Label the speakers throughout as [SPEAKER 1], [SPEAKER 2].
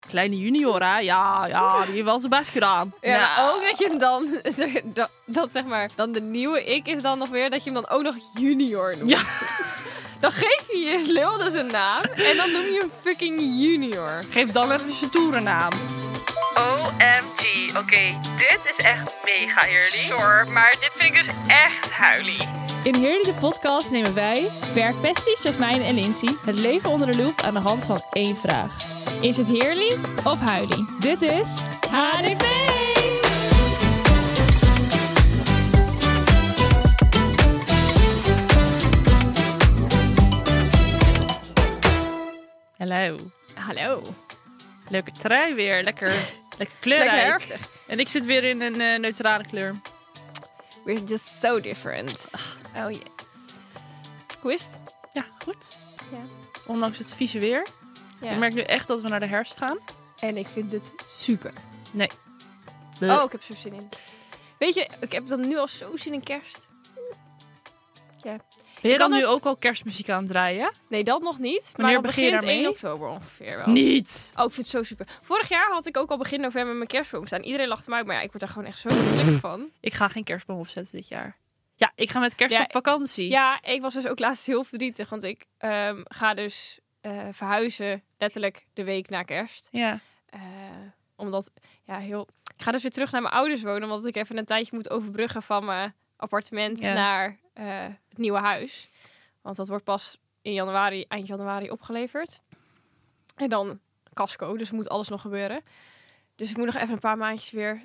[SPEAKER 1] Kleine junior, hè? Ja, ja, die heeft wel zijn best gedaan.
[SPEAKER 2] Ja, ook dat je hem dan, dat, dat zeg maar, dan de nieuwe ik is dan nog weer dat je hem dan ook nog junior noemt.
[SPEAKER 1] Ja.
[SPEAKER 2] Dan geef je je lul dus een naam en dan noem je hem fucking junior.
[SPEAKER 1] Geef dan even zijn toerennaam. OMG, oké, dit is echt mega eerlijk. Sorry, maar dit vind ik dus echt huilie.
[SPEAKER 3] In Heerlijke Podcast nemen wij, werkpesties Jasmijn en Lindsay, het leven onder de loep aan de hand van één vraag. Is het heerlijk of huilie? Dit is HDP!
[SPEAKER 1] Hallo.
[SPEAKER 2] Hallo.
[SPEAKER 1] Leuke trui weer, lekker, lekker kleurrijk.
[SPEAKER 2] Lekker herfstig.
[SPEAKER 1] En ik zit weer in een eh, neutrale kleur.
[SPEAKER 2] We're just so different. Oh yes. Hoe is het?
[SPEAKER 1] Ja, goed.
[SPEAKER 2] Ja.
[SPEAKER 1] Ondanks het vieze weer. Ik merk nu echt dat we naar de herfst gaan.
[SPEAKER 2] En ik vind het super.
[SPEAKER 1] Nee. Eh,
[SPEAKER 2] Oh, ik heb zo zin in. Weet je, ik heb dan nu al zo zin in kerst.
[SPEAKER 1] Ben je
[SPEAKER 2] kan
[SPEAKER 1] dan nu ook al kerstmuziek aan het draaien?
[SPEAKER 2] Nee, dat nog niet. Maar
[SPEAKER 1] Wanneer
[SPEAKER 2] dat
[SPEAKER 1] begin je
[SPEAKER 2] begint
[SPEAKER 1] daarmee?
[SPEAKER 2] 1 oktober ongeveer wel.
[SPEAKER 1] Niet.
[SPEAKER 2] Oh, ik vind het zo super. Vorig jaar had ik ook al begin november mijn kerstboom staan. Iedereen lachte mij uit, maar ja, ik word daar gewoon echt zo gelukkig van.
[SPEAKER 1] Ik ga geen kerstboom opzetten dit jaar. Ja, ik ga met kerst
[SPEAKER 2] Ja,
[SPEAKER 1] op vakantie.
[SPEAKER 2] Ja, ik was dus ook laatst heel verdrietig, want ik ehm, ga dus eh, verhuizen letterlijk de week na kerst.
[SPEAKER 1] Ja.
[SPEAKER 2] Eh, omdat, ja, heel... Ik ga dus weer terug naar mijn ouders wonen, omdat ik even een tijdje moet overbruggen van mijn appartement
[SPEAKER 1] Ja.
[SPEAKER 2] naar eh, het nieuwe huis. Want dat wordt pas in januari, eind januari opgeleverd. En dan casco, dus moet alles nog gebeuren. Dus ik moet nog even een paar maandjes weer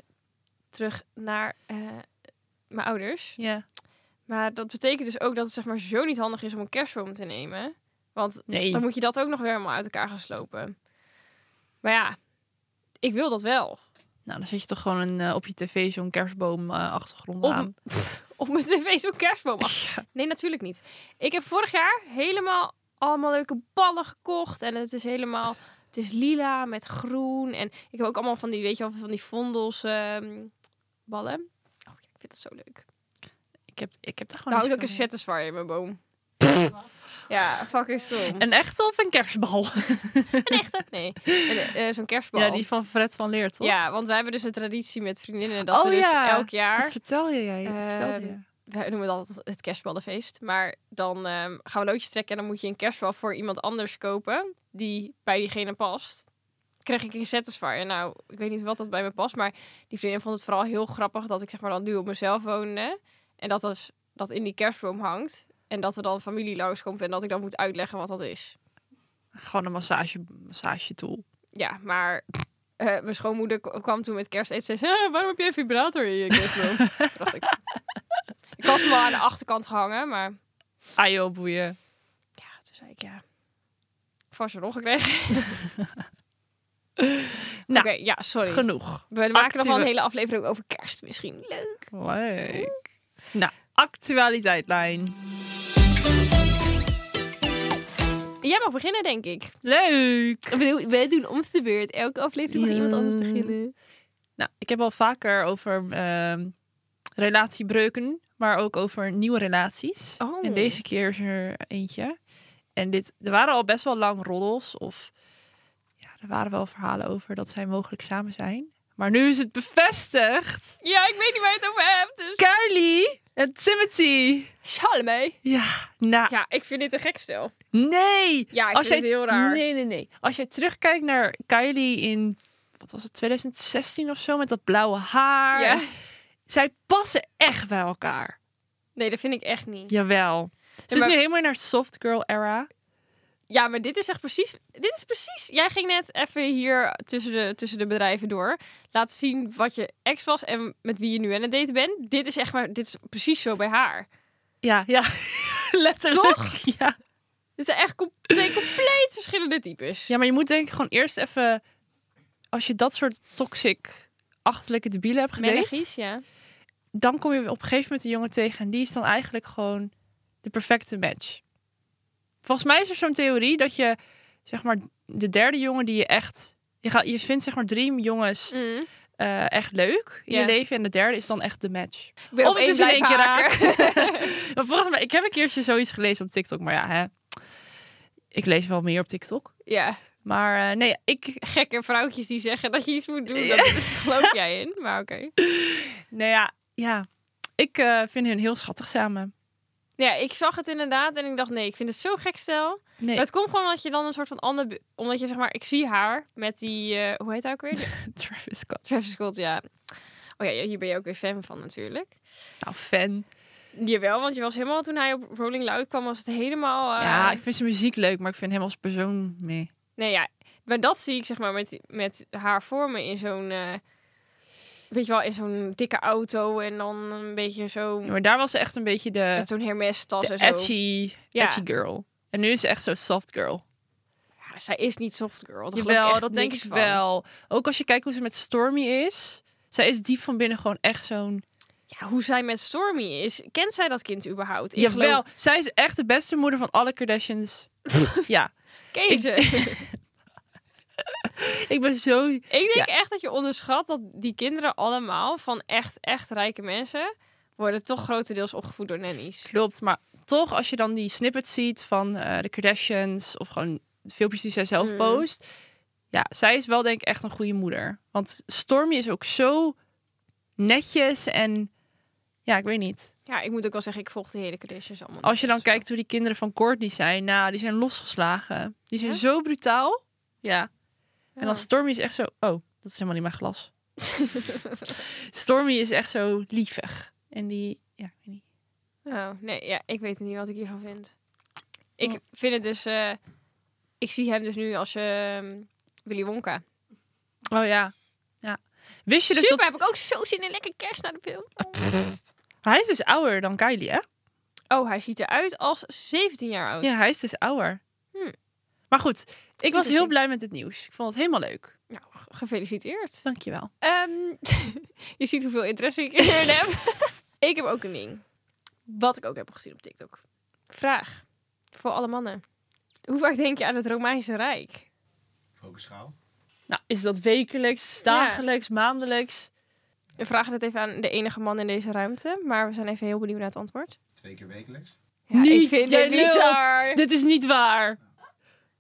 [SPEAKER 2] terug naar eh, mijn ouders.
[SPEAKER 1] ja.
[SPEAKER 2] Maar dat betekent dus ook dat het zeg maar zo niet handig is om een kerstboom te nemen. Want
[SPEAKER 1] Nee.
[SPEAKER 2] dan moet je dat ook nog weer helemaal uit elkaar gaan slopen. Maar ja, ik wil dat wel.
[SPEAKER 1] Nou, dan zet je toch gewoon een, eh, op je tv zo'n kerstboom eh, achtergrond
[SPEAKER 2] Op,
[SPEAKER 1] aan.
[SPEAKER 2] op mijn tv zo'n kerstboom. af. Nee, natuurlijk niet. Ik heb vorig jaar helemaal allemaal leuke ballen gekocht. En het is helemaal... Het is lila met groen. En ik heb ook allemaal van die, weet je wel, van die vondels ehm, ballen. Oh, ja, ik vind dat zo leuk.
[SPEAKER 1] Ik heb, ik heb daar gewoon
[SPEAKER 2] Nou, houdt ook
[SPEAKER 1] niet
[SPEAKER 2] een
[SPEAKER 1] zoveel
[SPEAKER 2] satisfier in mijn boom. ja, fucking stom.
[SPEAKER 1] mee. Een echte of een kerstbal?
[SPEAKER 2] Een echte? Nee. Een, eh, Zo'n kerstbal.
[SPEAKER 1] Ja, die van Fred van Leer, toch?
[SPEAKER 2] Ja, want wij hebben dus een traditie met vriendinnen dat
[SPEAKER 1] Oh,
[SPEAKER 2] we dus
[SPEAKER 1] ja.
[SPEAKER 2] elk
[SPEAKER 1] Dat
[SPEAKER 2] jaar,
[SPEAKER 1] vertel je jij. dat vertelde
[SPEAKER 2] Ehm,
[SPEAKER 1] je.
[SPEAKER 2] wij noemen dat het kerstballenfeest, maar dan ehm, gaan we loodjes trekken en dan moet je een kerstbal voor iemand anders kopen die bij diegene past. Kreeg ik een satisfier. Nou, ik weet niet wat dat bij me past, maar die vriendin vond het vooral heel grappig dat ik zeg maar dan nu op mezelf woonde en dat dus, dat in die kerstboom hangt en dat er dan familie langskomt en dat ik dan moet uitleggen wat dat is.
[SPEAKER 1] Gewoon een massage, massagetool.
[SPEAKER 2] Ja, maar eh, mijn schoonmoeder k- kwam toen met kerst en zei ze, "Hè, waarom heb jij een vibrator in je kerstboom? Toen dacht ik, ik had hem wel aan de achterkant gehangen, maar
[SPEAKER 1] Ah joh, boeien.
[SPEAKER 2] ja, toen zei ik ja, vast een rol gekregen. Oké,
[SPEAKER 1] Nou,
[SPEAKER 2] ja, sorry.
[SPEAKER 1] Genoeg.
[SPEAKER 2] We maken nog wel
[SPEAKER 1] actieve-
[SPEAKER 2] een hele aflevering over kerst misschien. Leuk.
[SPEAKER 1] Leuk. Nou, actualiteitlijn.
[SPEAKER 2] Jij mag beginnen, denk ik.
[SPEAKER 1] Leuk.
[SPEAKER 2] Wij doen om de beurt. Elke aflevering
[SPEAKER 1] mag iemand anders beginnen. Nou, ik heb al vaker over ehm, relatiebreuken, maar ook over nieuwe relaties.
[SPEAKER 2] Oh.
[SPEAKER 1] En deze keer is er eentje. En dit, er waren al best wel lang roddels of ja, er waren wel verhalen over dat zij mogelijk samen zijn. Maar nu is het bevestigd.
[SPEAKER 2] Ja, ik weet niet waar je het over hebt. Dus...
[SPEAKER 1] Kylie en Timothy.
[SPEAKER 2] Charlemagne.
[SPEAKER 1] Ja, nou,
[SPEAKER 2] Ja, ik vind dit een gek stel.
[SPEAKER 1] nee.
[SPEAKER 2] Ja, Ah, ik vind het heel raar.
[SPEAKER 1] Nee, nee, nee. Als jij terugkijkt naar Kylie in, wat was het, 2016 of zo, met dat blauwe haar.
[SPEAKER 2] Ja.
[SPEAKER 1] Zij passen echt bij elkaar.
[SPEAKER 2] Nee, dat vind ik echt niet.
[SPEAKER 1] Jawel. Ze is
[SPEAKER 2] maar-
[SPEAKER 1] nu helemaal in haar soft girl era.
[SPEAKER 2] Ja, maar dit is echt precies. Dit is precies. Jij ging net even hier tussen de, tussen de bedrijven door. Laten zien wat je ex was en met wie je nu aan het daten bent. Dit is echt maar. Dit is precies zo bij haar.
[SPEAKER 1] Ja, ja. Letterlijk. Toch? Ja.
[SPEAKER 2] Dit zijn echt com- twee compleet verschillende types.
[SPEAKER 1] ja, maar je moet denk ik gewoon eerst even... Als je dat soort toxic, achterlijke debielen hebt gedate...
[SPEAKER 2] Menergies, ja.
[SPEAKER 1] dan kom je op een gegeven moment een jongen tegen... en die is dan eigenlijk gewoon de perfecte match. Volgens mij is er zo'n theorie dat je, zeg maar, de derde jongen die je echt... Je, gaat, je vindt zeg maar drie jongens
[SPEAKER 2] Mm.
[SPEAKER 1] eh, echt leuk in
[SPEAKER 2] Ja.
[SPEAKER 1] je leven... en de derde is dan echt de match.
[SPEAKER 2] Ik ben
[SPEAKER 1] Of
[SPEAKER 2] op
[SPEAKER 1] het
[SPEAKER 2] één
[SPEAKER 1] is in één
[SPEAKER 2] blijven
[SPEAKER 1] keer
[SPEAKER 2] haken.
[SPEAKER 1] Maar volgens mij, ik heb een keertje zoiets gelezen op TikTok, maar ja, hè. Ik lees wel meer op TikTok.
[SPEAKER 2] ja.
[SPEAKER 1] Maar eh, nee, ik,
[SPEAKER 2] Gekke vrouwtjes die zeggen dat je iets moet doen. Dat geloof jij in, maar oké.
[SPEAKER 1] nou ja, ja. ik eh, vind hun heel schattig samen.
[SPEAKER 2] Ja, ik zag het inderdaad en ik dacht, nee, ik vind het zo gek stel.
[SPEAKER 1] Nee,
[SPEAKER 2] Maar het komt gewoon omdat je dan een soort van ander... bu- Omdat je zeg maar, ik zie haar met die... eh, hoe heet hij ook weer? Die-
[SPEAKER 1] Travis Scott.
[SPEAKER 2] Travis Scott, ja. Oh ja, hier ben je ook weer fan van natuurlijk.
[SPEAKER 1] Nou, fan.
[SPEAKER 2] Jawel, want je was helemaal... Toen hij op Rolling Loud kwam, was het helemaal... eh,
[SPEAKER 1] Ja, ik vind zijn muziek leuk, maar ik vind hem als persoon mee.
[SPEAKER 2] Nee, ja. Maar dat zie ik zeg maar met, met haar voor me in zo'n... eh, weet je wel, in zo'n dikke auto en dan een beetje zo...
[SPEAKER 1] maar daar was ze echt een beetje de,
[SPEAKER 2] Met zo'n Hermes tas
[SPEAKER 1] de
[SPEAKER 2] en zo.
[SPEAKER 1] edgy,
[SPEAKER 2] Ja.
[SPEAKER 1] edgy girl. En nu is ze echt zo'n soft girl.
[SPEAKER 2] Ja, zij is niet soft girl. Daar geloof ik
[SPEAKER 1] Jawel,
[SPEAKER 2] echt
[SPEAKER 1] dat denk ik
[SPEAKER 2] niks van.
[SPEAKER 1] wel. Ook als je kijkt hoe ze met Stormy is. Zij is diep van binnen gewoon echt zo'n...
[SPEAKER 2] Ja, hoe zij met Stormy is. Kent zij dat kind überhaupt? Ik
[SPEAKER 1] Jawel,
[SPEAKER 2] geloof-
[SPEAKER 1] zij is echt de beste moeder van alle Kardashians. ja,
[SPEAKER 2] Ken je
[SPEAKER 1] Ik-
[SPEAKER 2] ze?
[SPEAKER 1] ik ben zo...
[SPEAKER 2] Ik denk echt dat je onderschat dat die kinderen allemaal van echt, echt rijke mensen worden toch grotendeels opgevoed door nannies.
[SPEAKER 1] Klopt, maar toch als je dan die snippets ziet van eh, de Kardashians... of gewoon de filmpjes die zij zelf
[SPEAKER 2] Mm.
[SPEAKER 1] post. Ja, zij is wel denk ik echt een goede moeder. Want Stormy is ook zo netjes en... Ja, ik weet niet.
[SPEAKER 2] Ja, ik moet ook wel zeggen, ik volg de hele Kardashians allemaal.
[SPEAKER 1] Als je
[SPEAKER 2] niet
[SPEAKER 1] dan
[SPEAKER 2] echt zo.
[SPEAKER 1] kijkt hoe die kinderen van Courtney zijn... Nou, die zijn losgeslagen. Die zijn
[SPEAKER 2] Ja?
[SPEAKER 1] zo brutaal. Ja. En dan
[SPEAKER 2] Ja.
[SPEAKER 1] Stormy is echt zo... Oh, dat is helemaal niet mijn glas. Stormy is echt zo lievig. En die... Ja, ik weet niet.
[SPEAKER 2] Oh, nee, ja, ik weet niet wat ik hiervan vind. Ik vind het dus... eh, ik zie hem dus nu als ehm, Willy Wonka.
[SPEAKER 1] Oh ja. Ja. Wist je dus
[SPEAKER 2] Super,
[SPEAKER 1] dat...
[SPEAKER 2] heb ik ook zo zin in lekker kerst naar de film.
[SPEAKER 1] Hij is dus ouder dan Kylie, hè?
[SPEAKER 2] Oh, hij ziet eruit als 17 jaar oud.
[SPEAKER 1] Ja, hij is dus ouder.
[SPEAKER 2] Hm.
[SPEAKER 1] Maar goed, ik was heel
[SPEAKER 2] Interesting.
[SPEAKER 1] blij met het nieuws. Ik vond het helemaal leuk.
[SPEAKER 2] Nou, g- gefeliciteerd.
[SPEAKER 1] Dankjewel.
[SPEAKER 2] Ehm, je ziet hoeveel interesse ik erin heb. ik heb ook een ding. Wat ik ook heb gezien op TikTok. Vraag voor alle mannen. Hoe vaak denk je aan het Romeinse Rijk?
[SPEAKER 4] Focusschaal.
[SPEAKER 1] Nou, is dat wekelijks, dagelijks, maandelijks?
[SPEAKER 2] We vragen het even aan de enige man in deze ruimte. Maar we zijn even heel benieuwd naar het antwoord.
[SPEAKER 4] Twee keer wekelijks.
[SPEAKER 2] Ja,
[SPEAKER 1] Niet,
[SPEAKER 2] ik vind
[SPEAKER 1] jij
[SPEAKER 2] dit bizar.
[SPEAKER 1] lult. Dit is niet waar.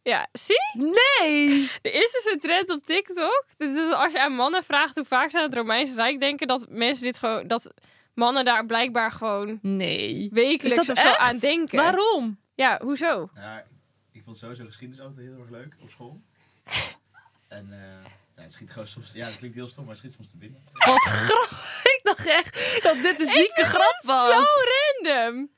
[SPEAKER 2] Ja, zie?
[SPEAKER 1] Nee!
[SPEAKER 2] Er is dus een trend op TikTok. Dus dat als je aan mannen vraagt hoe vaak ze aan het Romeinse Rijk denken... dat mensen dit gewoon... dat mannen daar blijkbaar gewoon
[SPEAKER 1] Nee.
[SPEAKER 2] wekelijks of Dus zo
[SPEAKER 1] echt?
[SPEAKER 2] aan denken.
[SPEAKER 1] Waarom?
[SPEAKER 2] Ja, hoezo?
[SPEAKER 4] Nou Ja, ik vond sowieso geschiedenis altijd heel erg leuk op school. en eh, ja, het schiet gewoon soms... Ja, het klinkt heel stom, maar het schiet soms te binnen.
[SPEAKER 1] Wat grappig. Ik dacht echt dat dit een zieke grap was.
[SPEAKER 2] Zo random!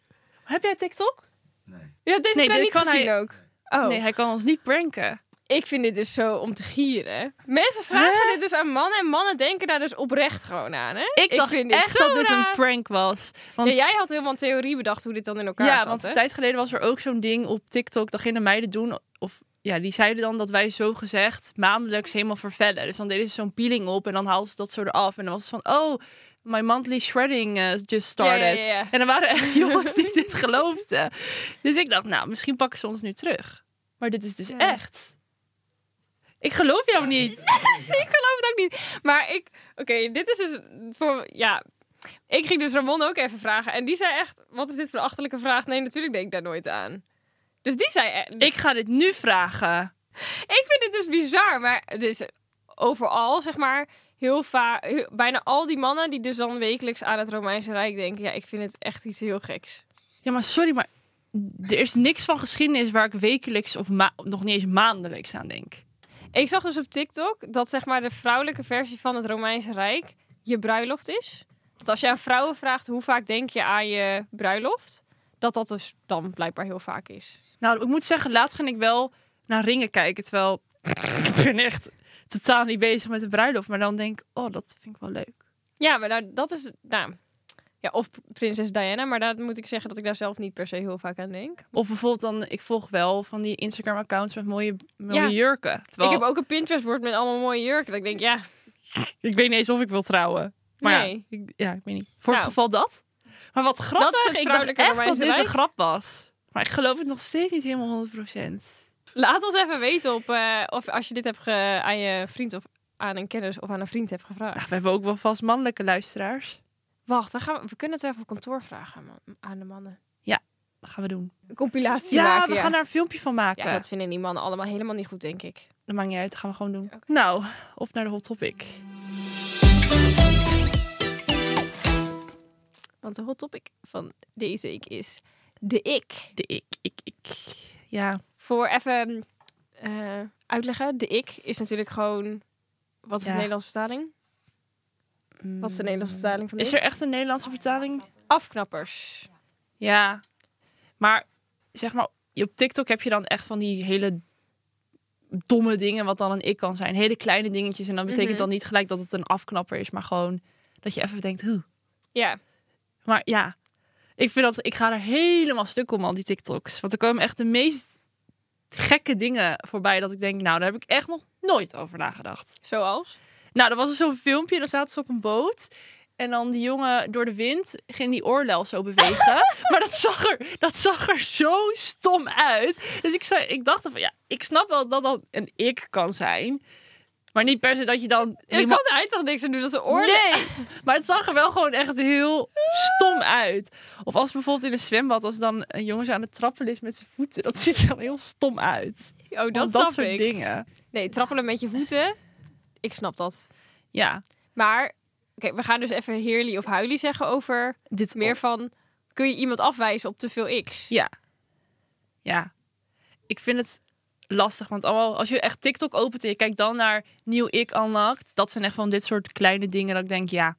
[SPEAKER 1] Heb jij TikTok?
[SPEAKER 4] Nee.
[SPEAKER 2] Ja, deze
[SPEAKER 1] Nee,
[SPEAKER 2] kan
[SPEAKER 1] dit
[SPEAKER 2] niet
[SPEAKER 1] kan
[SPEAKER 2] gezien
[SPEAKER 1] hij-
[SPEAKER 2] ook. Oh,
[SPEAKER 1] Nee, hij kan ons niet pranken.
[SPEAKER 2] ik vind dit dus zo om te gieren. Mensen vragen dit dus aan mannen en mannen denken daar dus oprecht gewoon aan, hè?
[SPEAKER 1] Ik, dacht
[SPEAKER 2] vind dit
[SPEAKER 1] echt
[SPEAKER 2] zo
[SPEAKER 1] dat dit
[SPEAKER 2] raar.
[SPEAKER 1] een prank was. Want
[SPEAKER 2] Ja, jij had helemaal een theorie bedacht hoe dit dan in elkaar
[SPEAKER 1] Ja,
[SPEAKER 2] zat,
[SPEAKER 1] want
[SPEAKER 2] hè?
[SPEAKER 1] een tijd geleden was er ook zo'n ding op TikTok. Dat gingen meiden doen. Of ja, die zeiden dan dat wij zo gezegd maandelijks helemaal vervellen. Dus dan deden ze zo'n peeling op en dan haalden ze dat zo eraf. En dan was het van, oh, my monthly shredding eh, just started.
[SPEAKER 2] Ja, ja, ja.
[SPEAKER 1] En er waren echt jongens die dit geloofden. Dus ik dacht, nou, misschien pakken ze ons nu terug. Maar dit is dus
[SPEAKER 2] Ja.
[SPEAKER 1] echt. Ik geloof jou niet.
[SPEAKER 2] ik geloof het ook niet. Maar ik... Oké, dit is dus voor... Ja... Ik ging dus Ramon ook even vragen. En die zei echt, wat is dit voor een achterlijke vraag? Nee, natuurlijk denk ik daar nooit aan. Dus die zei... e-
[SPEAKER 1] Ik ga dit nu vragen.
[SPEAKER 2] Ik vind dit dus bizar, maar het is overal, zeg maar, heel vaak... Bijna al die mannen die dus dan wekelijks aan het Romeinse Rijk denken... Ja, ik vind het echt iets heel geks.
[SPEAKER 1] Ja, maar sorry, maar er is niks van geschiedenis waar ik wekelijks of ma- nog niet eens maandelijks aan denk.
[SPEAKER 2] Ik zag dus op TikTok dat, zeg maar, de vrouwelijke versie van het Romeinse Rijk je bruiloft is. Want als je aan vrouwen vraagt hoe vaak denk je aan je bruiloft... dat dat dus dan blijkbaar heel vaak is.
[SPEAKER 1] Nou, ik moet zeggen, laatst ging ik wel naar ringen kijken. Terwijl ik ben echt totaal niet bezig met de bruiloft. Maar dan denk ik, oh, dat vind ik wel leuk.
[SPEAKER 2] Ja, maar daar, dat is... Nou, ja, of prinses Diana, maar daar moet ik zeggen dat ik daar zelf niet per se heel vaak aan denk.
[SPEAKER 1] Of bijvoorbeeld dan, ik volg wel van die Instagram-accounts met mooie, mooie
[SPEAKER 2] Ja.
[SPEAKER 1] jurken. Terwijl
[SPEAKER 2] Ik
[SPEAKER 1] ik,
[SPEAKER 2] heb ook een Pinterest-bord met allemaal mooie jurken. Dat ik denk, ja,
[SPEAKER 1] weet niet eens of ik wil trouwen. Maar
[SPEAKER 2] Nee.
[SPEAKER 1] ja, ik, ja, ik weet niet. Voor het
[SPEAKER 2] Nou.
[SPEAKER 1] geval dat. Maar wat grappig,
[SPEAKER 2] Dat is het
[SPEAKER 1] ik dacht
[SPEAKER 2] vrouwelijke
[SPEAKER 1] echt dat
[SPEAKER 2] Romeinse
[SPEAKER 1] dit een
[SPEAKER 2] Rijk.
[SPEAKER 1] grap was. Maar ik geloof het nog steeds niet helemaal 100%.
[SPEAKER 2] Laat ons even weten op, eh, of als je dit hebt ge- aan je vriend of aan een kennis of aan een vriend hebt
[SPEAKER 1] Nou,
[SPEAKER 2] gevraagd.
[SPEAKER 1] we hebben ook wel vast mannelijke luisteraars.
[SPEAKER 2] Wacht, dan gaan we, we kunnen het even op kantoor vragen aan man- aan de mannen.
[SPEAKER 1] Ja. Dat gaan we doen.
[SPEAKER 2] compilatie
[SPEAKER 1] Ja,
[SPEAKER 2] maken.
[SPEAKER 1] we
[SPEAKER 2] ja.
[SPEAKER 1] gaan daar een filmpje van maken.
[SPEAKER 2] ja, dat vinden die mannen allemaal helemaal niet goed, denk ik.
[SPEAKER 1] Dat maakt niet uit, dat gaan we gewoon doen. Nou, op naar de hot topic.
[SPEAKER 2] Want de hot topic van deze week is de ik.
[SPEAKER 1] De ik, ik, ik. Ja,
[SPEAKER 2] Voor even eh, uitleggen, de ik is natuurlijk gewoon... Wat is
[SPEAKER 1] Ja.
[SPEAKER 2] de Nederlandse vertaling? Wat Mm. is de Nederlandse vertaling van de
[SPEAKER 1] mm. Is
[SPEAKER 2] ik?
[SPEAKER 1] er echt een Nederlandse vertaling?
[SPEAKER 2] Afknappers.
[SPEAKER 1] Ja. Maar zeg maar, op TikTok heb je dan echt van die hele domme dingen, wat dan een ik kan zijn. Hele kleine dingetjes. En dan betekent
[SPEAKER 2] Mhm.
[SPEAKER 1] dan niet gelijk dat het een afknapper is, maar gewoon dat je even denkt, hoe.
[SPEAKER 2] Ja,
[SPEAKER 1] Maar ja, ik vind dat, ik ga er helemaal stuk om, al die TikToks. Want er komen echt de meest gekke dingen voorbij dat ik denk, nou, daar heb ik echt nog nooit over nagedacht.
[SPEAKER 2] zoals?
[SPEAKER 1] Nou, er was dus zo'n filmpje, dan zaten ze op een boot. En dan die jongen door de wind ging die oorlel zo bewegen. maar dat zag, er, dat zag er zo stom uit. Dus ik, zei, ik dacht van ja, ik snap wel dat dat een ik kan zijn. Maar niet per se dat je dan.
[SPEAKER 2] Ik
[SPEAKER 1] helemaal-
[SPEAKER 2] kan hij toch niks aan doen dat ze oorlog...
[SPEAKER 1] Nee, maar het zag er wel gewoon echt heel stom uit. Of als bijvoorbeeld in een zwembad, als dan een jongen zo aan het trappelen is met zijn voeten. Dat ziet er dan heel stom uit.
[SPEAKER 2] Oh, dat,
[SPEAKER 1] Dat,
[SPEAKER 2] snap
[SPEAKER 1] dat soort
[SPEAKER 2] ik.
[SPEAKER 1] dingen.
[SPEAKER 2] Nee, trappelen met je voeten. Ik snap dat.
[SPEAKER 1] Ja,
[SPEAKER 2] Maar, oké, we gaan dus even heerly of huilie zeggen over
[SPEAKER 1] dit
[SPEAKER 2] meer van... Kun je iemand afwijzen op te veel x?
[SPEAKER 1] Oh. Ja. Ja. Ik vind het lastig, want allemaal, als je echt TikTok opent en je kijkt dan naar nieuw ik unlocked, dat zijn echt van dit soort kleine dingen dat ik denk, ja,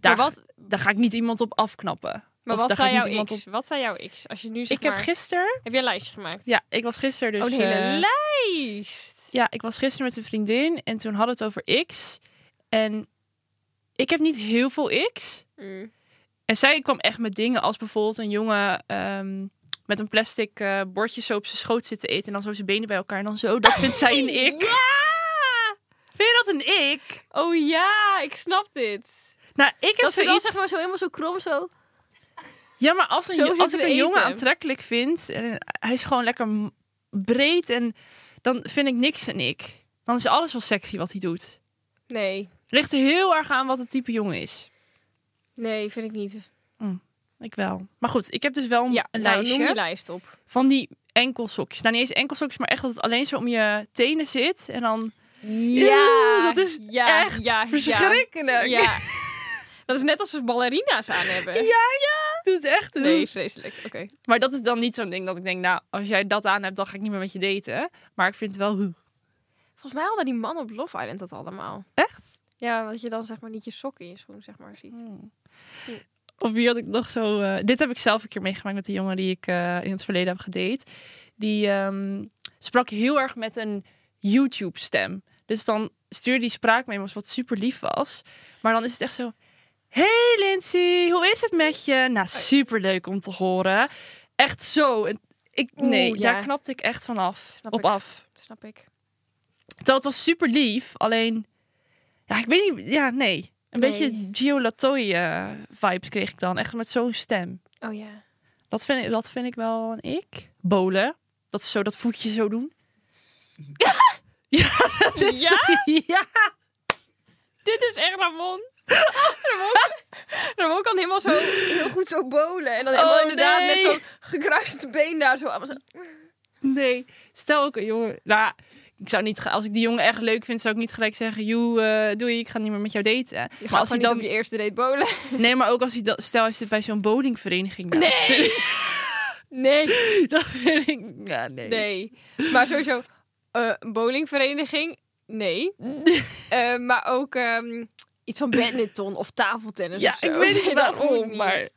[SPEAKER 1] daar,
[SPEAKER 2] maar wat,
[SPEAKER 1] daar ga ik niet iemand op afknappen.
[SPEAKER 2] maar
[SPEAKER 1] Of
[SPEAKER 2] wat
[SPEAKER 1] daar ga
[SPEAKER 2] zijn
[SPEAKER 1] ik niet
[SPEAKER 2] jouw
[SPEAKER 1] iemand
[SPEAKER 2] x? Wat zijn jouw x? Als je nu zeg
[SPEAKER 1] ik heb
[SPEAKER 2] maar-
[SPEAKER 1] gisteren,
[SPEAKER 2] Heb jij een lijstje gemaakt?
[SPEAKER 1] ja, ik was gisteren dus.
[SPEAKER 2] oh, een hele
[SPEAKER 1] eh,
[SPEAKER 2] lijst.
[SPEAKER 1] Ja, ik was gisteren met een vriendin en toen hadden we het over X. En ik heb niet heel veel X.
[SPEAKER 2] Mm.
[SPEAKER 1] En zij kwam echt met dingen als bijvoorbeeld een jongen ehm, met een plastic eh, bordje zo op zijn schoot zit te eten. En dan zo zijn benen bij elkaar. En dan zo, dat vindt zij een ik. Vind je dat een ik?
[SPEAKER 2] Oh ja, ik snap dit.
[SPEAKER 1] Nou, ik heb
[SPEAKER 2] Dat ze dan
[SPEAKER 1] zoiets...
[SPEAKER 2] zeg maar zo helemaal zo krom zo...
[SPEAKER 1] Ja, maar als,
[SPEAKER 2] zo
[SPEAKER 1] een,
[SPEAKER 2] zit
[SPEAKER 1] als
[SPEAKER 2] te
[SPEAKER 1] ik een jongen
[SPEAKER 2] eten.
[SPEAKER 1] aantrekkelijk vind... en hij is gewoon lekker m- breed en... dan vind ik niks een ik. Dan is alles wel sexy wat hij doet.
[SPEAKER 2] Nee,
[SPEAKER 1] Ligt er heel erg aan wat het type jongen is.
[SPEAKER 2] nee, vind ik niet.
[SPEAKER 1] Ik wel. Maar goed, ik heb dus wel een,
[SPEAKER 2] Ja,
[SPEAKER 1] een
[SPEAKER 2] nou,
[SPEAKER 1] lijstje.
[SPEAKER 2] noem je lijst op.
[SPEAKER 1] van die enkelsokjes. Nou, niet eens enkelsokjes, maar echt dat het alleen zo om je tenen zit. En dan Eeuw, dat is
[SPEAKER 2] ja,
[SPEAKER 1] echt
[SPEAKER 2] ja, Ja.
[SPEAKER 1] verschrikkelijk.
[SPEAKER 2] Ja. Dat is net als ze ballerina's aan hebben.
[SPEAKER 1] Dat is echt...
[SPEAKER 2] Nee, vreselijk. Oké.
[SPEAKER 1] Maar dat is dan niet zo'n ding dat ik denk, nou, als jij dat aan hebt, dan ga ik niet meer met je daten. Maar ik vind het wel...
[SPEAKER 2] Volgens mij hadden die mannen op Love Island dat allemaal.
[SPEAKER 1] Echt?
[SPEAKER 2] Ja, want je dan zeg maar niet je sokken in je schoen zeg maar ziet.
[SPEAKER 1] Of wie had ik nog zo... eh, dit heb ik zelf een keer meegemaakt met een jongen die ik eh, in het verleden heb gedate. Die ehm, sprak heel erg met een YouTube-stem. Dus dan stuurde die spraakmemo's, wat super lief was. Maar dan is het echt zo... Hey Lindsay, hoe is het met je? Nou, super leuk om te horen. Echt zo. En Ik,
[SPEAKER 2] Oeh,
[SPEAKER 1] nee,
[SPEAKER 2] ja.
[SPEAKER 1] daar knapte ik echt vanaf.
[SPEAKER 2] Snap
[SPEAKER 1] op
[SPEAKER 2] ik.
[SPEAKER 1] af.
[SPEAKER 2] Snap ik.
[SPEAKER 1] Terwijl het was super lief, alleen... Ja, ik weet niet... Ja, nee. Een
[SPEAKER 2] Nee.
[SPEAKER 1] beetje Gio Latoy eh, vibes kreeg ik dan. Echt met zo'n stem.
[SPEAKER 2] Oh ja.
[SPEAKER 1] Dat vind, ik, dat vind ik wel een ik. Bolen. Dat ze zo dat voetje zo doen. ja, dat is-
[SPEAKER 2] Ja?
[SPEAKER 1] ja.
[SPEAKER 2] Dit is echt Ramon. Ramon, Ramon kan helemaal zo heel goed zo bolen. En dan helemaal
[SPEAKER 1] Oh,
[SPEAKER 2] inderdaad
[SPEAKER 1] nee.
[SPEAKER 2] met zo'n gekruist been daar zo. allemaal zo.
[SPEAKER 1] Nee. Stel ook een jongen... Nou, ik zou niet... ge- Als ik die jongen echt leuk vind, zou ik niet gelijk zeggen... Joe, eh, doei, ik ga niet meer met jou daten.
[SPEAKER 2] Je
[SPEAKER 1] Maar
[SPEAKER 2] gaat
[SPEAKER 1] als hij
[SPEAKER 2] gewoon niet op
[SPEAKER 1] dan...
[SPEAKER 2] je eerste date bolen.
[SPEAKER 1] Nee, maar ook als hij dat... Stel, hij zit bij zo'n bowlingvereniging. nou, dat vind ik-
[SPEAKER 2] Nee.
[SPEAKER 1] Dat vind ik... Ja,
[SPEAKER 2] Nee. Maar sowieso, eh, een bowlingvereniging, nee. Eh, maar ook ehm, iets van badminton of tafeltennis
[SPEAKER 1] Ja,
[SPEAKER 2] of zo.
[SPEAKER 1] ik weet niet
[SPEAKER 2] Dat ook
[SPEAKER 1] waarom,
[SPEAKER 2] niet.
[SPEAKER 1] maar...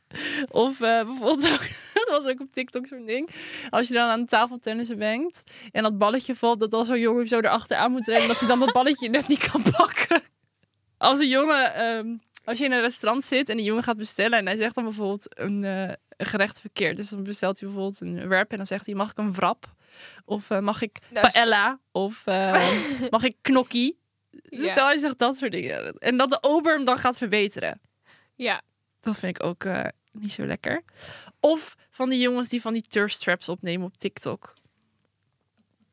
[SPEAKER 1] Of eh, bijvoorbeeld ook... Dat was ook op TikTok zo'n ding. Als je dan aan de tafel tennissen bent en dat balletje valt, dat dan zo'n jongen zo erachteraan moet rennen, dat hij dan dat balletje net niet kan pakken. Als een jongen... ehm, als je in een restaurant zit en die jongen gaat bestellen en hij zegt dan bijvoorbeeld een eh, een gerecht verkeerd. Dus dan bestelt hij bijvoorbeeld een werp en dan zegt hij, mag ik een wrap? Of eh, mag ik
[SPEAKER 2] Nou, is-
[SPEAKER 1] paella? Of eh, mag ik knokkie? Dus
[SPEAKER 2] Ja.
[SPEAKER 1] Stel, hij zegt dat soort dingen. En dat de ober hem dan gaat verbeteren.
[SPEAKER 2] Ja,
[SPEAKER 1] Dat vind ik ook eh, niet zo lekker. Of van die jongens die van die thirst traps opnemen op TikTok.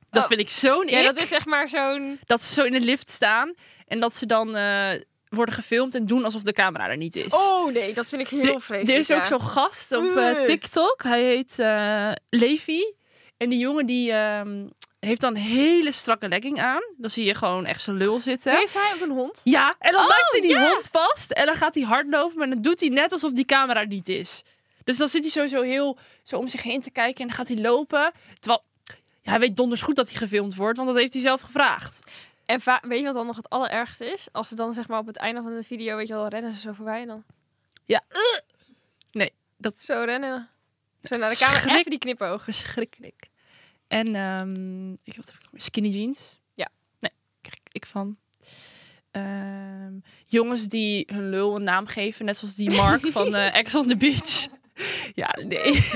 [SPEAKER 1] Dat
[SPEAKER 2] Oh.
[SPEAKER 1] vind ik zo'n
[SPEAKER 2] ja
[SPEAKER 1] ik.
[SPEAKER 2] dat is zeg maar zo'n...
[SPEAKER 1] Dat ze zo in de lift staan en dat ze dan eh, worden gefilmd en doen alsof de camera er niet is.
[SPEAKER 2] Oh nee, dat vind ik heel
[SPEAKER 1] Di-
[SPEAKER 2] vreselijk.
[SPEAKER 1] Dus Er is ook
[SPEAKER 2] ja.
[SPEAKER 1] zo'n gast op eh,
[SPEAKER 2] Ugh.
[SPEAKER 1] TikTok. Hij heet eh, Levi. En die jongen die ehm, heeft dan een hele strakke legging aan. Dan zie je gewoon echt zijn lul zitten.
[SPEAKER 2] Heeft hij ook een hond?
[SPEAKER 1] Ja, en dan
[SPEAKER 2] Oh,
[SPEAKER 1] maakt hij die
[SPEAKER 2] ja.
[SPEAKER 1] hond vast. En dan gaat hij hardlopen. Maar dan doet hij net alsof die camera niet is. Dus dan zit hij sowieso heel zo om zich heen te kijken. En dan gaat hij lopen. Terwijl ja, hij weet donders goed dat hij gefilmd wordt. Want dat heeft hij zelf gevraagd.
[SPEAKER 2] En va- weet je wat dan nog het allerergste is? Als ze dan zeg maar op het einde van de video, weet je wel, rennen ze zo voorbij en dan.
[SPEAKER 1] Ja. Nee, dat-
[SPEAKER 2] Zo rennen. Zo naar de camera,
[SPEAKER 1] Schrik.
[SPEAKER 2] even die knipoog.
[SPEAKER 1] Verschrikkelijk. En ehm, ik heb nog meer skinny jeans.
[SPEAKER 2] Ja.
[SPEAKER 1] Nee, krijg ik- ik van. Ehm, jongens die hun lul een naam geven, net zoals die Mark van eh Ex on the Beach. ja, nee.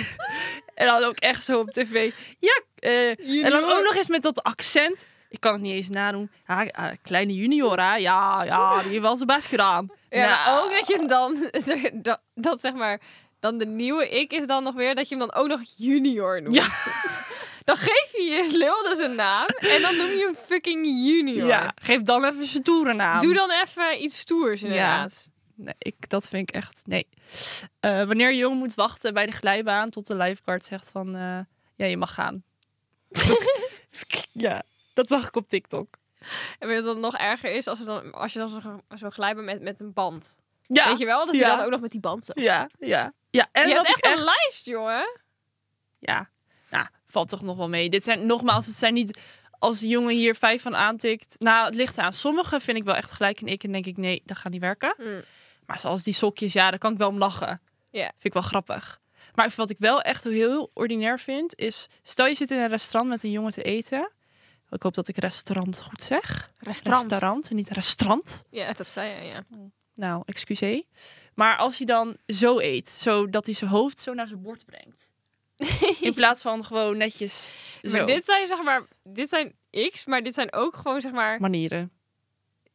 [SPEAKER 1] en dan ook echt zo op tv. Ja, eh, en dan ook nog eens met dat accent. Ik kan het niet eens nadoen. Ja, eh, kleine junior, hè? Ja, ja, die heeft wel zijn best gedaan.
[SPEAKER 2] Ja, maar
[SPEAKER 1] Nou.
[SPEAKER 2] ook dat je hem dan, dat, dat zeg maar, dan de nieuwe ik is dan nog weer dat je hem dan ook nog junior noemt.
[SPEAKER 1] Ja.
[SPEAKER 2] Dan geef je je lul dus een naam en dan noem je hem fucking junior.
[SPEAKER 1] Nou, Ja, geef dan even zijn toerennaam.
[SPEAKER 2] Doe dan even iets stoers inderdaad.
[SPEAKER 1] Nee, ik, dat vind ik echt. Nee. Eh, wanneer je jong moet wachten bij de glijbaan tot de lifeguard zegt van eh, ja, je mag gaan. ja, dat zag ik op TikTok.
[SPEAKER 2] En weet je wat dan nog erger is? Als, er dan, als je dan zo, zo glijden met, met een band.
[SPEAKER 1] Ja,
[SPEAKER 2] Weet je wel? Dat je
[SPEAKER 1] Ja.
[SPEAKER 2] dan ook nog met die band zo...
[SPEAKER 1] ja, ja. Ja, en
[SPEAKER 2] je
[SPEAKER 1] wat
[SPEAKER 2] hebt
[SPEAKER 1] ik
[SPEAKER 2] echt een lijst, jongen.
[SPEAKER 1] Ja, nou, valt toch nog wel mee. Dit zijn nogmaals, het zijn niet als de jongen hier vijf van aantikt. Nou, het ligt aan. Sommigen vind ik wel echt gelijk en ik en denk ik nee, dat gaat niet werken.
[SPEAKER 2] Mm.
[SPEAKER 1] Maar zoals die sokjes, ja, daar kan ik wel om lachen.
[SPEAKER 2] Ja.
[SPEAKER 1] Vind ik wel grappig. Maar wat ik wel echt heel ordinair vind, is... Stel je zit in een restaurant met een jongen te eten. Ik hoop dat ik restaurant goed zeg. Restaurant, niet restaurant.
[SPEAKER 2] Ja, dat zei je, ja.
[SPEAKER 1] Nou, excuseer. Maar als hij dan zo eet, zo dat hij zijn hoofd zo naar zijn bord brengt. In plaats van gewoon netjes zo.
[SPEAKER 2] Maar dit zijn zeg maar... Dit zijn X, maar dit zijn ook gewoon zeg maar...
[SPEAKER 1] Manieren.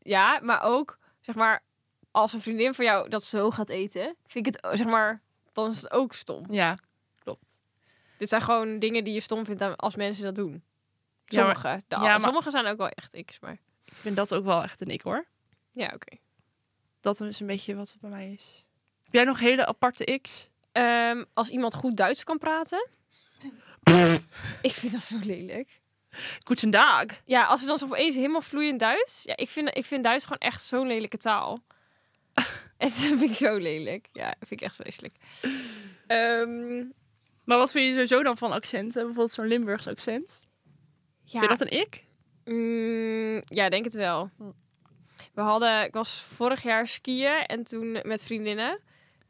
[SPEAKER 2] Ja, maar ook zeg maar... Als een vriendin van jou dat zo gaat eten, vind ik het zeg maar... Dan is het ook stom.
[SPEAKER 1] Ja, klopt.
[SPEAKER 2] Dit zijn gewoon dingen die je stom vindt aan- als mensen dat doen.
[SPEAKER 1] Ja, maar-
[SPEAKER 2] Sommige. De-
[SPEAKER 1] ja, maar-
[SPEAKER 2] Sommige zijn ook wel echt X, maar...
[SPEAKER 1] Ik vind dat ook wel echt een ik hoor.
[SPEAKER 2] Ja, oké.
[SPEAKER 1] Dat is een beetje wat het bij mij is. Heb jij nog hele aparte X?
[SPEAKER 2] Ehm, als iemand goed Duits kan praten. ik vind dat zo lelijk.
[SPEAKER 1] Goedendag.
[SPEAKER 2] Ja, als ze dan zo opeens helemaal vloeiend Duits. Ja, ik vind, ik vind Duits gewoon echt zo'n lelijke taal. en dat vind ik zo lelijk. Ja, dat vind ik echt vreselijk. Ehm,
[SPEAKER 1] Maar wat vind je sowieso dan van accenten? Bijvoorbeeld zo'n Limburgs accent.
[SPEAKER 2] ja,
[SPEAKER 1] Vind je dat een ik?
[SPEAKER 2] mm, ja, denk het wel.
[SPEAKER 1] Hm.
[SPEAKER 2] We hadden, ik was vorig jaar skiën en toen met vriendinnen.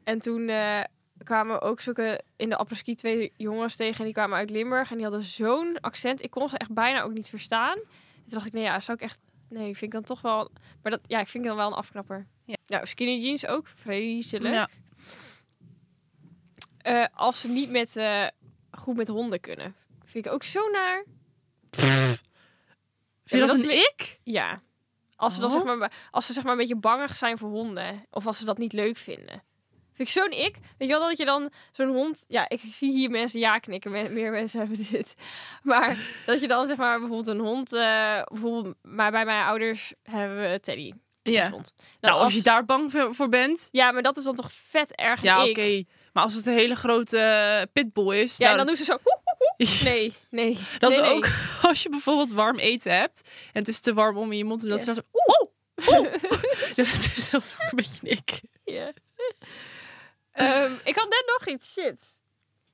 [SPEAKER 2] En toen eh, kwamen ook zulke in de apres-ski twee jongens tegen. En die kwamen uit Limburg. En die hadden zo'n accent. Ik kon ze echt bijna ook niet verstaan. En toen dacht ik, nee, ja, zou ik echt... Nee, vind ik dan toch wel... Maar dat, ja, ik vind dan wel een afknapper.
[SPEAKER 1] Ja.
[SPEAKER 2] Nou, skinny jeans ook. Vreselijk.
[SPEAKER 1] Ja.
[SPEAKER 2] Eh, als ze niet met, eh, goed met honden kunnen. Vind ik ook zo naar.
[SPEAKER 1] Vind je dat,
[SPEAKER 2] maar dat
[SPEAKER 1] een
[SPEAKER 2] is
[SPEAKER 1] ik?
[SPEAKER 2] Ja. Als ze, dan
[SPEAKER 1] Oh.
[SPEAKER 2] zeg maar, als ze zeg maar een beetje bangig zijn voor honden. Of als ze dat niet leuk vinden. Vind ik zo'n ik. Weet je wel dat je dan zo'n hond... Ja, ik zie hier mensen ja knikken. me- Meer mensen hebben dit. Maar dat je dan zeg maar bijvoorbeeld een hond... eh, bijvoorbeeld, maar bij mijn ouders hebben we Teddy.
[SPEAKER 1] Ja.
[SPEAKER 2] als
[SPEAKER 1] Nou,
[SPEAKER 2] hond. Nou,
[SPEAKER 1] als
[SPEAKER 2] als-
[SPEAKER 1] je daar bang voor- voor bent.
[SPEAKER 2] Ja, maar dat is dan toch vet erg een
[SPEAKER 1] Ja, oké.
[SPEAKER 2] ik.
[SPEAKER 1] Maar als het een hele grote eh, pitbull is.
[SPEAKER 2] Ja, en dan
[SPEAKER 1] nou,
[SPEAKER 2] doen ze zo... "Hoe, hoe, hoe." Nee, nee.
[SPEAKER 1] dat
[SPEAKER 2] nee,
[SPEAKER 1] is
[SPEAKER 2] nee.
[SPEAKER 1] ook als je bijvoorbeeld warm eten hebt. En het is te warm om in je mond te doen. Dat
[SPEAKER 2] Ja.
[SPEAKER 1] is dan zo... Oh! oh. ja, dat, is, dat is ook een beetje een ik.
[SPEAKER 2] Ja. Ehm, ik had net nog iets. Shit.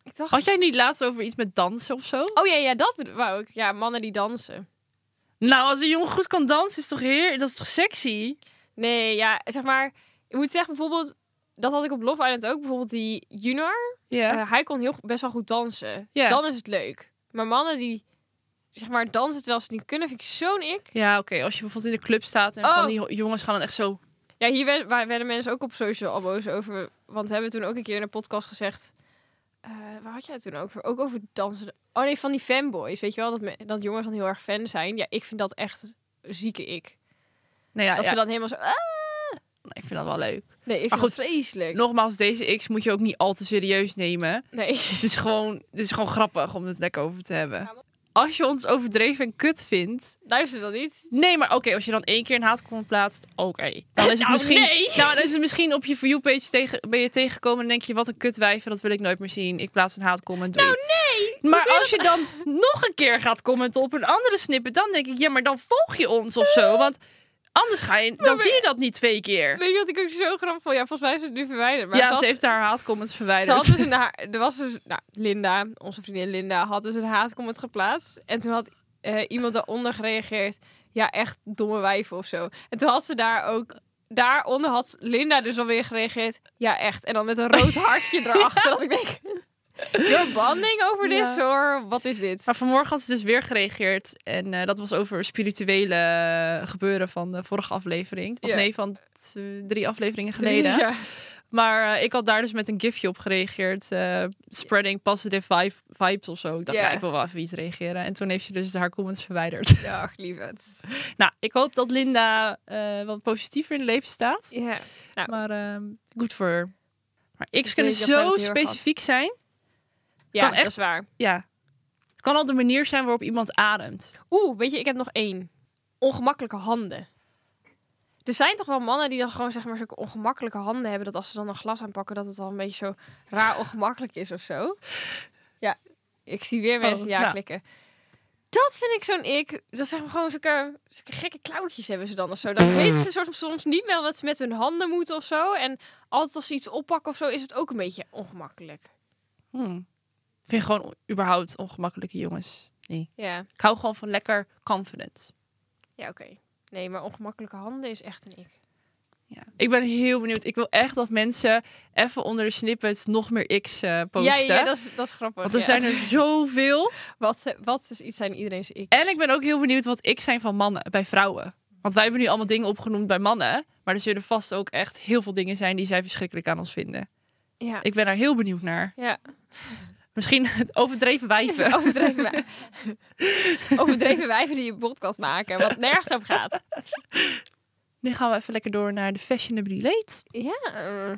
[SPEAKER 2] Ik dacht...
[SPEAKER 1] Had jij niet laatst over iets met dansen of zo?
[SPEAKER 2] Oh ja, ja, dat bedo- wou ik. Ja, mannen die dansen.
[SPEAKER 1] Nou, als een jongen goed kan dansen, is toch heer, dat is toch sexy?
[SPEAKER 2] Nee, ja, zeg maar. Ik moet zeggen, bijvoorbeeld. Dat had ik op Love Island ook. Bijvoorbeeld die Junior.
[SPEAKER 1] Ja.
[SPEAKER 2] eh, hij kon heel, best wel goed dansen.
[SPEAKER 1] Ja.
[SPEAKER 2] Dan is het leuk. Maar mannen die, zeg maar, dansen terwijl ze het niet kunnen, vind ik zo'n ik.
[SPEAKER 1] ja, oké. Als je bijvoorbeeld in de club staat en
[SPEAKER 2] Oh.
[SPEAKER 1] van die ho- jongens gaan dan echt zo...
[SPEAKER 2] Ja, hier werd- waar werden mensen ook op social al boos over. Want we hebben toen ook een keer in een podcast gezegd. eh, waar had jij het toen over? Ook over dansen. Oh nee, van die fanboys. Weet je wel, dat, me- dat jongens dan heel erg fan zijn. Ja, ik vind dat echt een zieke ik.
[SPEAKER 1] Nou ja,
[SPEAKER 2] Dat
[SPEAKER 1] ja.
[SPEAKER 2] ze dan helemaal zo... "Ah."
[SPEAKER 1] ik vind dat wel leuk.
[SPEAKER 2] Nee, ik vind
[SPEAKER 1] Maar
[SPEAKER 2] het vreselijk.
[SPEAKER 1] Nogmaals, deze X moet je ook niet al te serieus nemen.
[SPEAKER 2] Nee.
[SPEAKER 1] Het is gewoon, het is gewoon grappig om het lekker over te hebben. als je ons overdreven en kut vindt.
[SPEAKER 2] Luister dan niet.
[SPEAKER 1] Nee, maar oké, als je dan één keer een haatcomment plaatst, oké. Dan is het
[SPEAKER 2] Nou,
[SPEAKER 1] misschien.
[SPEAKER 2] nee.
[SPEAKER 1] Nou, dan is het misschien op je For You page tegen, ben je tegengekomen en denk je wat een kutwijven, dat wil ik nooit meer zien. Ik plaats een haatcomment. doei.
[SPEAKER 2] Nou, nee!
[SPEAKER 1] maar als je dan nog een keer gaat commenten op een andere snippet, dan denk ik ja, maar dan volg je ons of zo, want anders ga je, dan
[SPEAKER 2] we-
[SPEAKER 1] zie je dat niet twee keer.
[SPEAKER 2] Weet je wat ik ook zo grappig vond? Ja, volgens mij is het nu verwijderd. Maar
[SPEAKER 1] ja,
[SPEAKER 2] ze had-
[SPEAKER 1] ze heeft haar haatcomments
[SPEAKER 2] Ze
[SPEAKER 1] verwijderd.
[SPEAKER 2] had dus een ha- er was dus, nou, Linda, onze vriendin Linda, had dus een haatcomment geplaatst. En toen had eh, iemand daaronder gereageerd, ja, echt domme wijven of zo. En toen had ze daar ook, daaronder had Linda dus alweer gereageerd, ja, echt. En dan met een rood hartje erachter. Dat ik denk, you're banding over
[SPEAKER 1] Ja.
[SPEAKER 2] this, hoor. Wat is dit?
[SPEAKER 1] Maar vanmorgen had ze dus weer gereageerd. En eh, dat was over spirituele eh, gebeuren van de vorige aflevering. Of
[SPEAKER 2] Ja.
[SPEAKER 1] nee, van t- drie afleveringen geleden.
[SPEAKER 2] Dus Ja.
[SPEAKER 1] Maar eh, ik had daar dus met een gifje op gereageerd. eh, spreading positive vibe, vibes of zo. Ik dacht,
[SPEAKER 2] Ja.
[SPEAKER 1] ja, ik wil wel even iets reageren. En toen heeft ze dus haar comments verwijderd.
[SPEAKER 2] Ja, ach, lieverd.
[SPEAKER 1] nou, ik hoop dat Linda eh, wat positiever in het leven staat.
[SPEAKER 2] Ja. Nou,
[SPEAKER 1] Maar ehm good for her. Maar X
[SPEAKER 2] weet
[SPEAKER 1] kunnen
[SPEAKER 2] dat zij
[SPEAKER 1] zo
[SPEAKER 2] dat heel erg had.
[SPEAKER 1] specifiek zijn.
[SPEAKER 2] ja,
[SPEAKER 1] kan
[SPEAKER 2] dat
[SPEAKER 1] echt-
[SPEAKER 2] is waar.
[SPEAKER 1] Ja. Het kan al de manier zijn waarop iemand ademt.
[SPEAKER 2] Oeh, weet je, ik heb nog één. Ongemakkelijke handen. Er zijn toch wel mannen die dan gewoon zeg maar zulke ongemakkelijke handen hebben dat als ze dan een glas aanpakken dat het al een beetje zo raar ongemakkelijk is of zo. Ja, ik zie weer mensen
[SPEAKER 1] Oh,
[SPEAKER 2] ja
[SPEAKER 1] nou.
[SPEAKER 2] klikken. Dat vind ik zo'n ik. Dat zeg maar gewoon zulke, zulke gekke klauwtjes hebben ze dan of zo. Dan weten ze soort, soms niet wel wat ze met hun handen moeten of zo. En altijd als ze iets oppakken of zo is het ook een beetje ongemakkelijk.
[SPEAKER 1] Hmm. Ik vind gewoon überhaupt ongemakkelijke jongens. Nee.
[SPEAKER 2] Ja,
[SPEAKER 1] Ik hou gewoon van lekker confident.
[SPEAKER 2] ja oké. Nee, maar ongemakkelijke handen is echt een ik.
[SPEAKER 1] Ja. Ik ben heel benieuwd. Ik wil echt dat mensen even onder de snippets nog meer X eh,
[SPEAKER 2] Ja,
[SPEAKER 1] posten.
[SPEAKER 2] ja, dat is, dat is grappig.
[SPEAKER 1] Want er
[SPEAKER 2] ja.
[SPEAKER 1] zijn er zoveel.
[SPEAKER 2] Wat, ze- wat is iets aan iedereen's ik?
[SPEAKER 1] En ik ben ook heel benieuwd wat X zijn van mannen bij vrouwen. Want wij hebben nu allemaal dingen opgenoemd bij mannen. Maar er zullen vast ook echt heel veel dingen zijn die zij verschrikkelijk aan ons vinden.
[SPEAKER 2] Ja.
[SPEAKER 1] Ik ben daar heel benieuwd naar.
[SPEAKER 2] ja.
[SPEAKER 1] Misschien het overdreven wijven.
[SPEAKER 2] Overdreven, wij- Overdreven wijven die een podcast maken, wat nergens over gaat.
[SPEAKER 1] Nu gaan we even lekker door naar de fashionably late.
[SPEAKER 2] Ja. eh.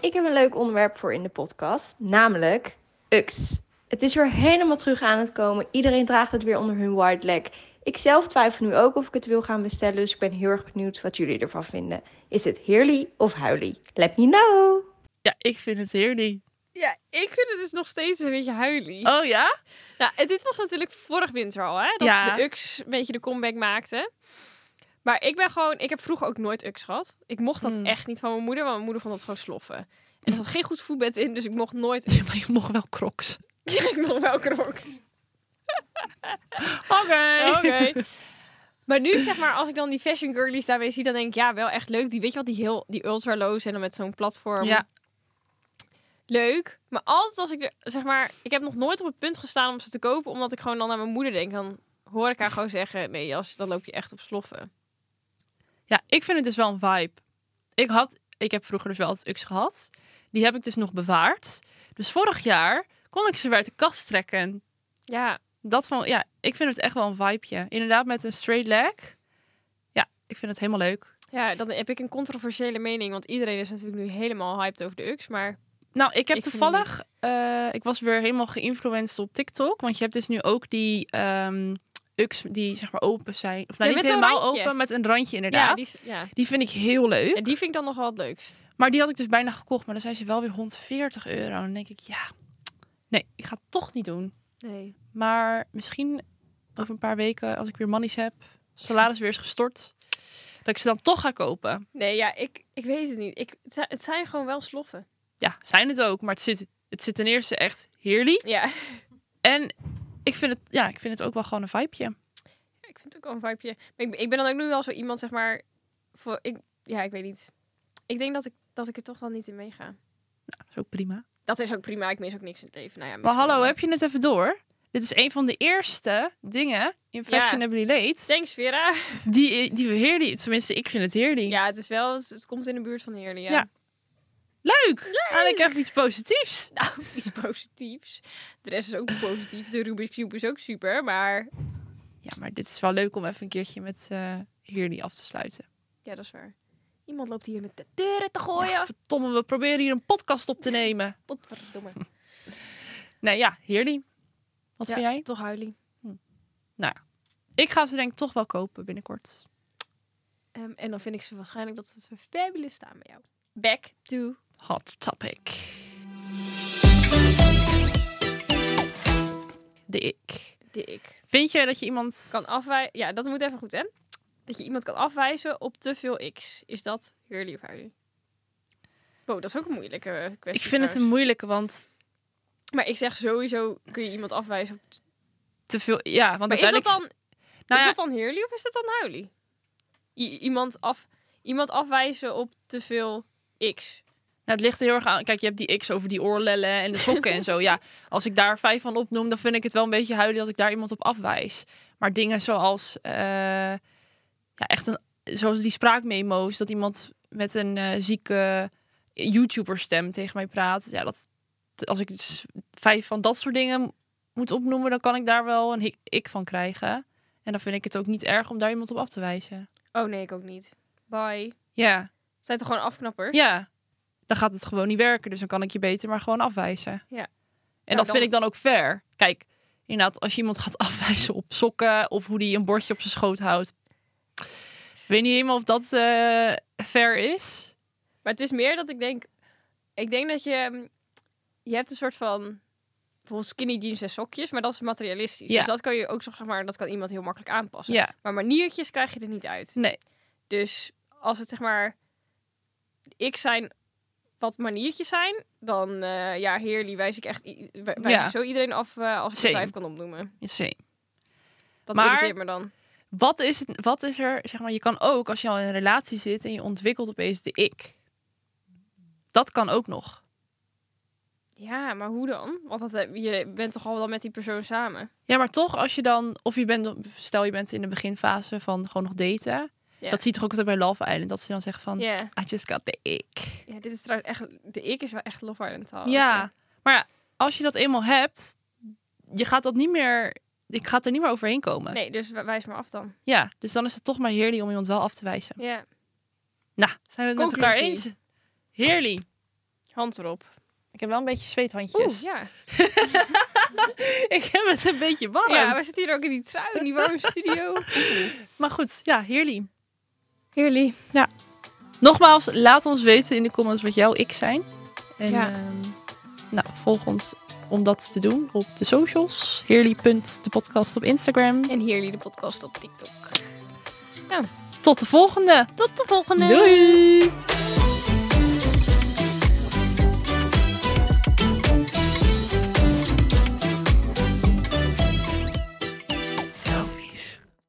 [SPEAKER 5] Ik heb een leuk onderwerp voor in de podcast, namelijk UX. Het is weer helemaal terug aan het komen. Iedereen draagt het weer onder hun white leg. Ik zelf twijfel nu ook of ik het wil gaan bestellen, dus ik ben heel erg benieuwd wat jullie ervan vinden. Is het heerly of huilie? Let me know!
[SPEAKER 1] Ja, ik vind het heerlijk.
[SPEAKER 2] Ja, ik vind het dus nog steeds een beetje huilie.
[SPEAKER 1] Oh ja?
[SPEAKER 2] Nou, en dit was natuurlijk vorig winter al, hè? Dat
[SPEAKER 1] Ja.
[SPEAKER 2] de UX een beetje de comeback maakte. Maar ik ben gewoon... Ik heb vroeger ook nooit UX gehad. Ik mocht dat
[SPEAKER 1] Hmm.
[SPEAKER 2] echt niet van mijn moeder, want mijn moeder vond dat gewoon sloffen. En er zat geen goed voetbed in, dus ik mocht nooit...
[SPEAKER 1] Ja, maar je mocht wel crocs.
[SPEAKER 2] ik mocht wel crocs.
[SPEAKER 1] Oké.
[SPEAKER 2] Oké. maar nu, zeg maar, als ik dan die fashion girlies daarmee zie, dan denk ik, ja, wel echt leuk. Die, weet je wat, die heel, die ultra lows en dan met zo'n platform.
[SPEAKER 1] Ja,
[SPEAKER 2] Leuk. Maar altijd als ik er, zeg maar, ik heb nog nooit op het punt gestaan om ze te kopen, omdat ik gewoon dan naar mijn moeder denk. Dan hoor ik haar gewoon zeggen, nee, Jas, dan loop je echt op sloffen.
[SPEAKER 1] ja, ik vind het dus wel een vibe. Ik, had, ik heb vroeger dus wel het UX gehad. Die heb ik dus nog bewaard. Dus vorig jaar kon ik ze weer uit de kast trekken.
[SPEAKER 2] Ja,
[SPEAKER 1] Dat van, ja, ik vind het echt wel een vibeje. Inderdaad, met een straight leg. Ja, ik vind het helemaal leuk.
[SPEAKER 2] ja, dan heb ik een controversiële mening, want iedereen is natuurlijk nu helemaal hyped over de UX, maar
[SPEAKER 1] Nou, ik heb
[SPEAKER 2] Ik vind het
[SPEAKER 1] toevallig... eh, ik was weer helemaal geïnfluenced op TikTok. Want je hebt dus nu ook die ehm UX die zeg maar open zijn. Of nou,
[SPEAKER 2] Ja,
[SPEAKER 1] niet
[SPEAKER 2] met zo'n
[SPEAKER 1] helemaal
[SPEAKER 2] randje.
[SPEAKER 1] open, met een randje inderdaad.
[SPEAKER 2] ja,
[SPEAKER 1] die...
[SPEAKER 2] die, ja.
[SPEAKER 1] vind ik heel leuk.
[SPEAKER 2] En die vind ik dan nog wel het leukst.
[SPEAKER 1] Maar die had ik dus bijna gekocht. Maar dan zijn ze wel weer 140 euro. En dan denk ik, ja, nee, ik ga het toch niet doen.
[SPEAKER 2] Nee.
[SPEAKER 1] Maar misschien over een paar weken, als ik weer money's heb, salaris weer is gestort, dat ik ze dan toch ga kopen.
[SPEAKER 2] Nee, ja, ik, ik weet het niet. Ik, het zi- het zijn gewoon wel sloffen.
[SPEAKER 1] Ja, zijn het ook. Maar het zit, het zit ten eerste echt heerlijk.
[SPEAKER 2] Ja.
[SPEAKER 1] En ik vind, het, ja, ik vind het ook wel gewoon een vibeje.
[SPEAKER 2] Ja, ik vind het ook wel een vibeje. Maar ik, ik ben dan ook nu wel zo iemand, zeg maar... Voor, ik, ja, ik weet niet. Ik denk dat ik, dat ik er toch wel niet in meega.
[SPEAKER 1] Dat is ook prima.
[SPEAKER 2] Dat is ook prima. Ik mis ook niks in het leven. Nou ja,
[SPEAKER 1] Maar
[SPEAKER 2] misschien
[SPEAKER 1] hallo,
[SPEAKER 2] wel.
[SPEAKER 1] heb je het even door? Dit is een van de eerste dingen in
[SPEAKER 2] Ja.
[SPEAKER 1] Fashionably Late
[SPEAKER 2] Thanks, Vera.
[SPEAKER 1] die, die we heerlijk, tenminste ik vind het heerlijk.
[SPEAKER 2] Ja, het is wel... Het, het komt in de buurt van Heerlen, ja.
[SPEAKER 1] Ja. Leuk! En ik heb iets positiefs.
[SPEAKER 2] Nou, iets positiefs. De rest is ook positief. De Rubik's Cube is ook super, maar...
[SPEAKER 1] Ja, maar dit is wel leuk om even een keertje met eh Heerly af te sluiten.
[SPEAKER 2] Ja, dat is waar. Iemand loopt hier met de deuren te gooien.
[SPEAKER 1] Verdomme, we proberen hier een podcast op te nemen.
[SPEAKER 2] Potverdomme.
[SPEAKER 1] Nee, ja, Heerly. Wat
[SPEAKER 2] Ja,
[SPEAKER 1] vind jij?
[SPEAKER 2] Toch huilie.
[SPEAKER 1] Ik ga ze denk ik toch wel kopen binnenkort.
[SPEAKER 2] Ehm, en dan vind ik ze waarschijnlijk dat ze fabulous staan bij jou. Back to...
[SPEAKER 1] Hot topic. De ik.
[SPEAKER 2] De ik.
[SPEAKER 1] Vind je dat je iemand
[SPEAKER 2] Kan afwijzen... Ja, dat moet even goed, hè? Dat je iemand kan afwijzen op te veel x. Is dat Hurley of huilie? Wow, dat is ook een moeilijke eh,
[SPEAKER 1] Ik
[SPEAKER 2] kwestie.
[SPEAKER 1] vind het een
[SPEAKER 2] trouwens.
[SPEAKER 1] moeilijke, want
[SPEAKER 2] Maar ik zeg sowieso kun je iemand afwijzen op...
[SPEAKER 1] te veel. Ja, want
[SPEAKER 2] Maar is dat
[SPEAKER 1] uiteindelijk.
[SPEAKER 2] dan...
[SPEAKER 1] nou ja,
[SPEAKER 2] is dat dan Heerly of is dat dan Huilie? I- iemand, af, iemand afwijzen op te veel X.
[SPEAKER 1] nou, het ligt er heel erg aan. Kijk, je hebt die X over die oorlellen en de sokken en zo. Ja, als ik daar vijf van opnoem, dan vind ik het wel een beetje huilen dat ik daar iemand op afwijs. Maar dingen zoals. eh, ja, echt een. Zoals die spraakmemo's, dat iemand met een eh, zieke YouTuber-stem tegen mij praat. Ja, dat. Als ik dus vijf van dat soort dingen moet opnoemen, dan kan ik daar wel een hik- ik van krijgen. En dan vind ik het ook niet erg om daar iemand op af te wijzen.
[SPEAKER 2] Oh nee, ik ook niet. Bye.
[SPEAKER 1] Ja.
[SPEAKER 2] Zijn toch gewoon afknappers?
[SPEAKER 1] Ja, dan gaat het gewoon niet werken. Dus dan kan ik je beter maar gewoon afwijzen.
[SPEAKER 2] Ja.
[SPEAKER 1] En dat
[SPEAKER 2] Nou, dan-
[SPEAKER 1] vind ik dan ook fair. Kijk, inderdaad, als je iemand gaat afwijzen op sokken of hoe die een bordje op zijn schoot houdt. Ik weet niet helemaal of dat eh, fair is.
[SPEAKER 2] Maar het is meer dat ik denk... Ik denk dat je... mm, Je hebt een soort van... Bijvoorbeeld skinny jeans en sokjes, maar dat is materialistisch.
[SPEAKER 1] Ja.
[SPEAKER 2] Dus dat kan je ook zo, zeg maar, dat kan iemand heel makkelijk aanpassen.
[SPEAKER 1] Ja,
[SPEAKER 2] Maar maniertjes krijg je er niet uit.
[SPEAKER 1] nee.
[SPEAKER 2] Dus als het zeg maar ik zijn wat maniertjes zijn, dan eh, ja, heerlijk wijs ik echt i- wij- wijs
[SPEAKER 1] Ja.
[SPEAKER 2] ik zo iedereen af eh, als ik de
[SPEAKER 1] Same.
[SPEAKER 2] vijf kan opnoemen.
[SPEAKER 1] Je ziet.
[SPEAKER 2] Dat
[SPEAKER 1] Maar-
[SPEAKER 2] irriteert me dan.
[SPEAKER 1] Wat is, het, wat is er, zeg maar, je kan ook als je al in een relatie zit en je ontwikkelt opeens de ik. Dat kan ook nog.
[SPEAKER 2] Ja, maar hoe dan? Want dat, heb- je bent toch al wel met die persoon samen.
[SPEAKER 1] Ja, maar toch als je dan, of je bent, stel je bent in de beginfase van gewoon nog daten.
[SPEAKER 2] Ja.
[SPEAKER 1] Dat zie je toch ook altijd bij Love Island, dat ze dan zeggen van,
[SPEAKER 2] Ja,
[SPEAKER 1] I just got the ik.
[SPEAKER 2] ja, dit is trouwens echt de ik is wel echt Love Island taal.
[SPEAKER 1] Ja, maar ja, als je dat eenmaal hebt, je gaat dat niet meer. Ik ga er niet meer overheen komen.
[SPEAKER 2] Nee, dus wij- wijs maar af dan.
[SPEAKER 1] Ja, dus dan is het toch maar heerlijk om iemand wel af te wijzen.
[SPEAKER 2] Ja,
[SPEAKER 1] Nou, zijn we het met elkaar eens?
[SPEAKER 2] Conclusie.
[SPEAKER 1] Heerlijk.
[SPEAKER 2] hand erop.
[SPEAKER 1] Ik heb wel een beetje
[SPEAKER 2] Oeh,
[SPEAKER 1] zweethandjes.
[SPEAKER 2] ja.
[SPEAKER 1] Ik heb het een beetje warm.
[SPEAKER 2] Ja, we zitten hier ook in die trui, in die warme studio.
[SPEAKER 1] Maar goed, ja, heerlijk.
[SPEAKER 2] Heerlijk.
[SPEAKER 1] Nogmaals, laat ons weten in de comments wat jouw ik zijn. En
[SPEAKER 2] Ja.
[SPEAKER 1] ehm, nou, volg ons om dat te doen op de socials. Heerlijk.depodcast op Instagram.
[SPEAKER 2] En heerlijk de podcast op TikTok.
[SPEAKER 1] Tot de volgende.
[SPEAKER 2] Tot de volgende.
[SPEAKER 1] Doei.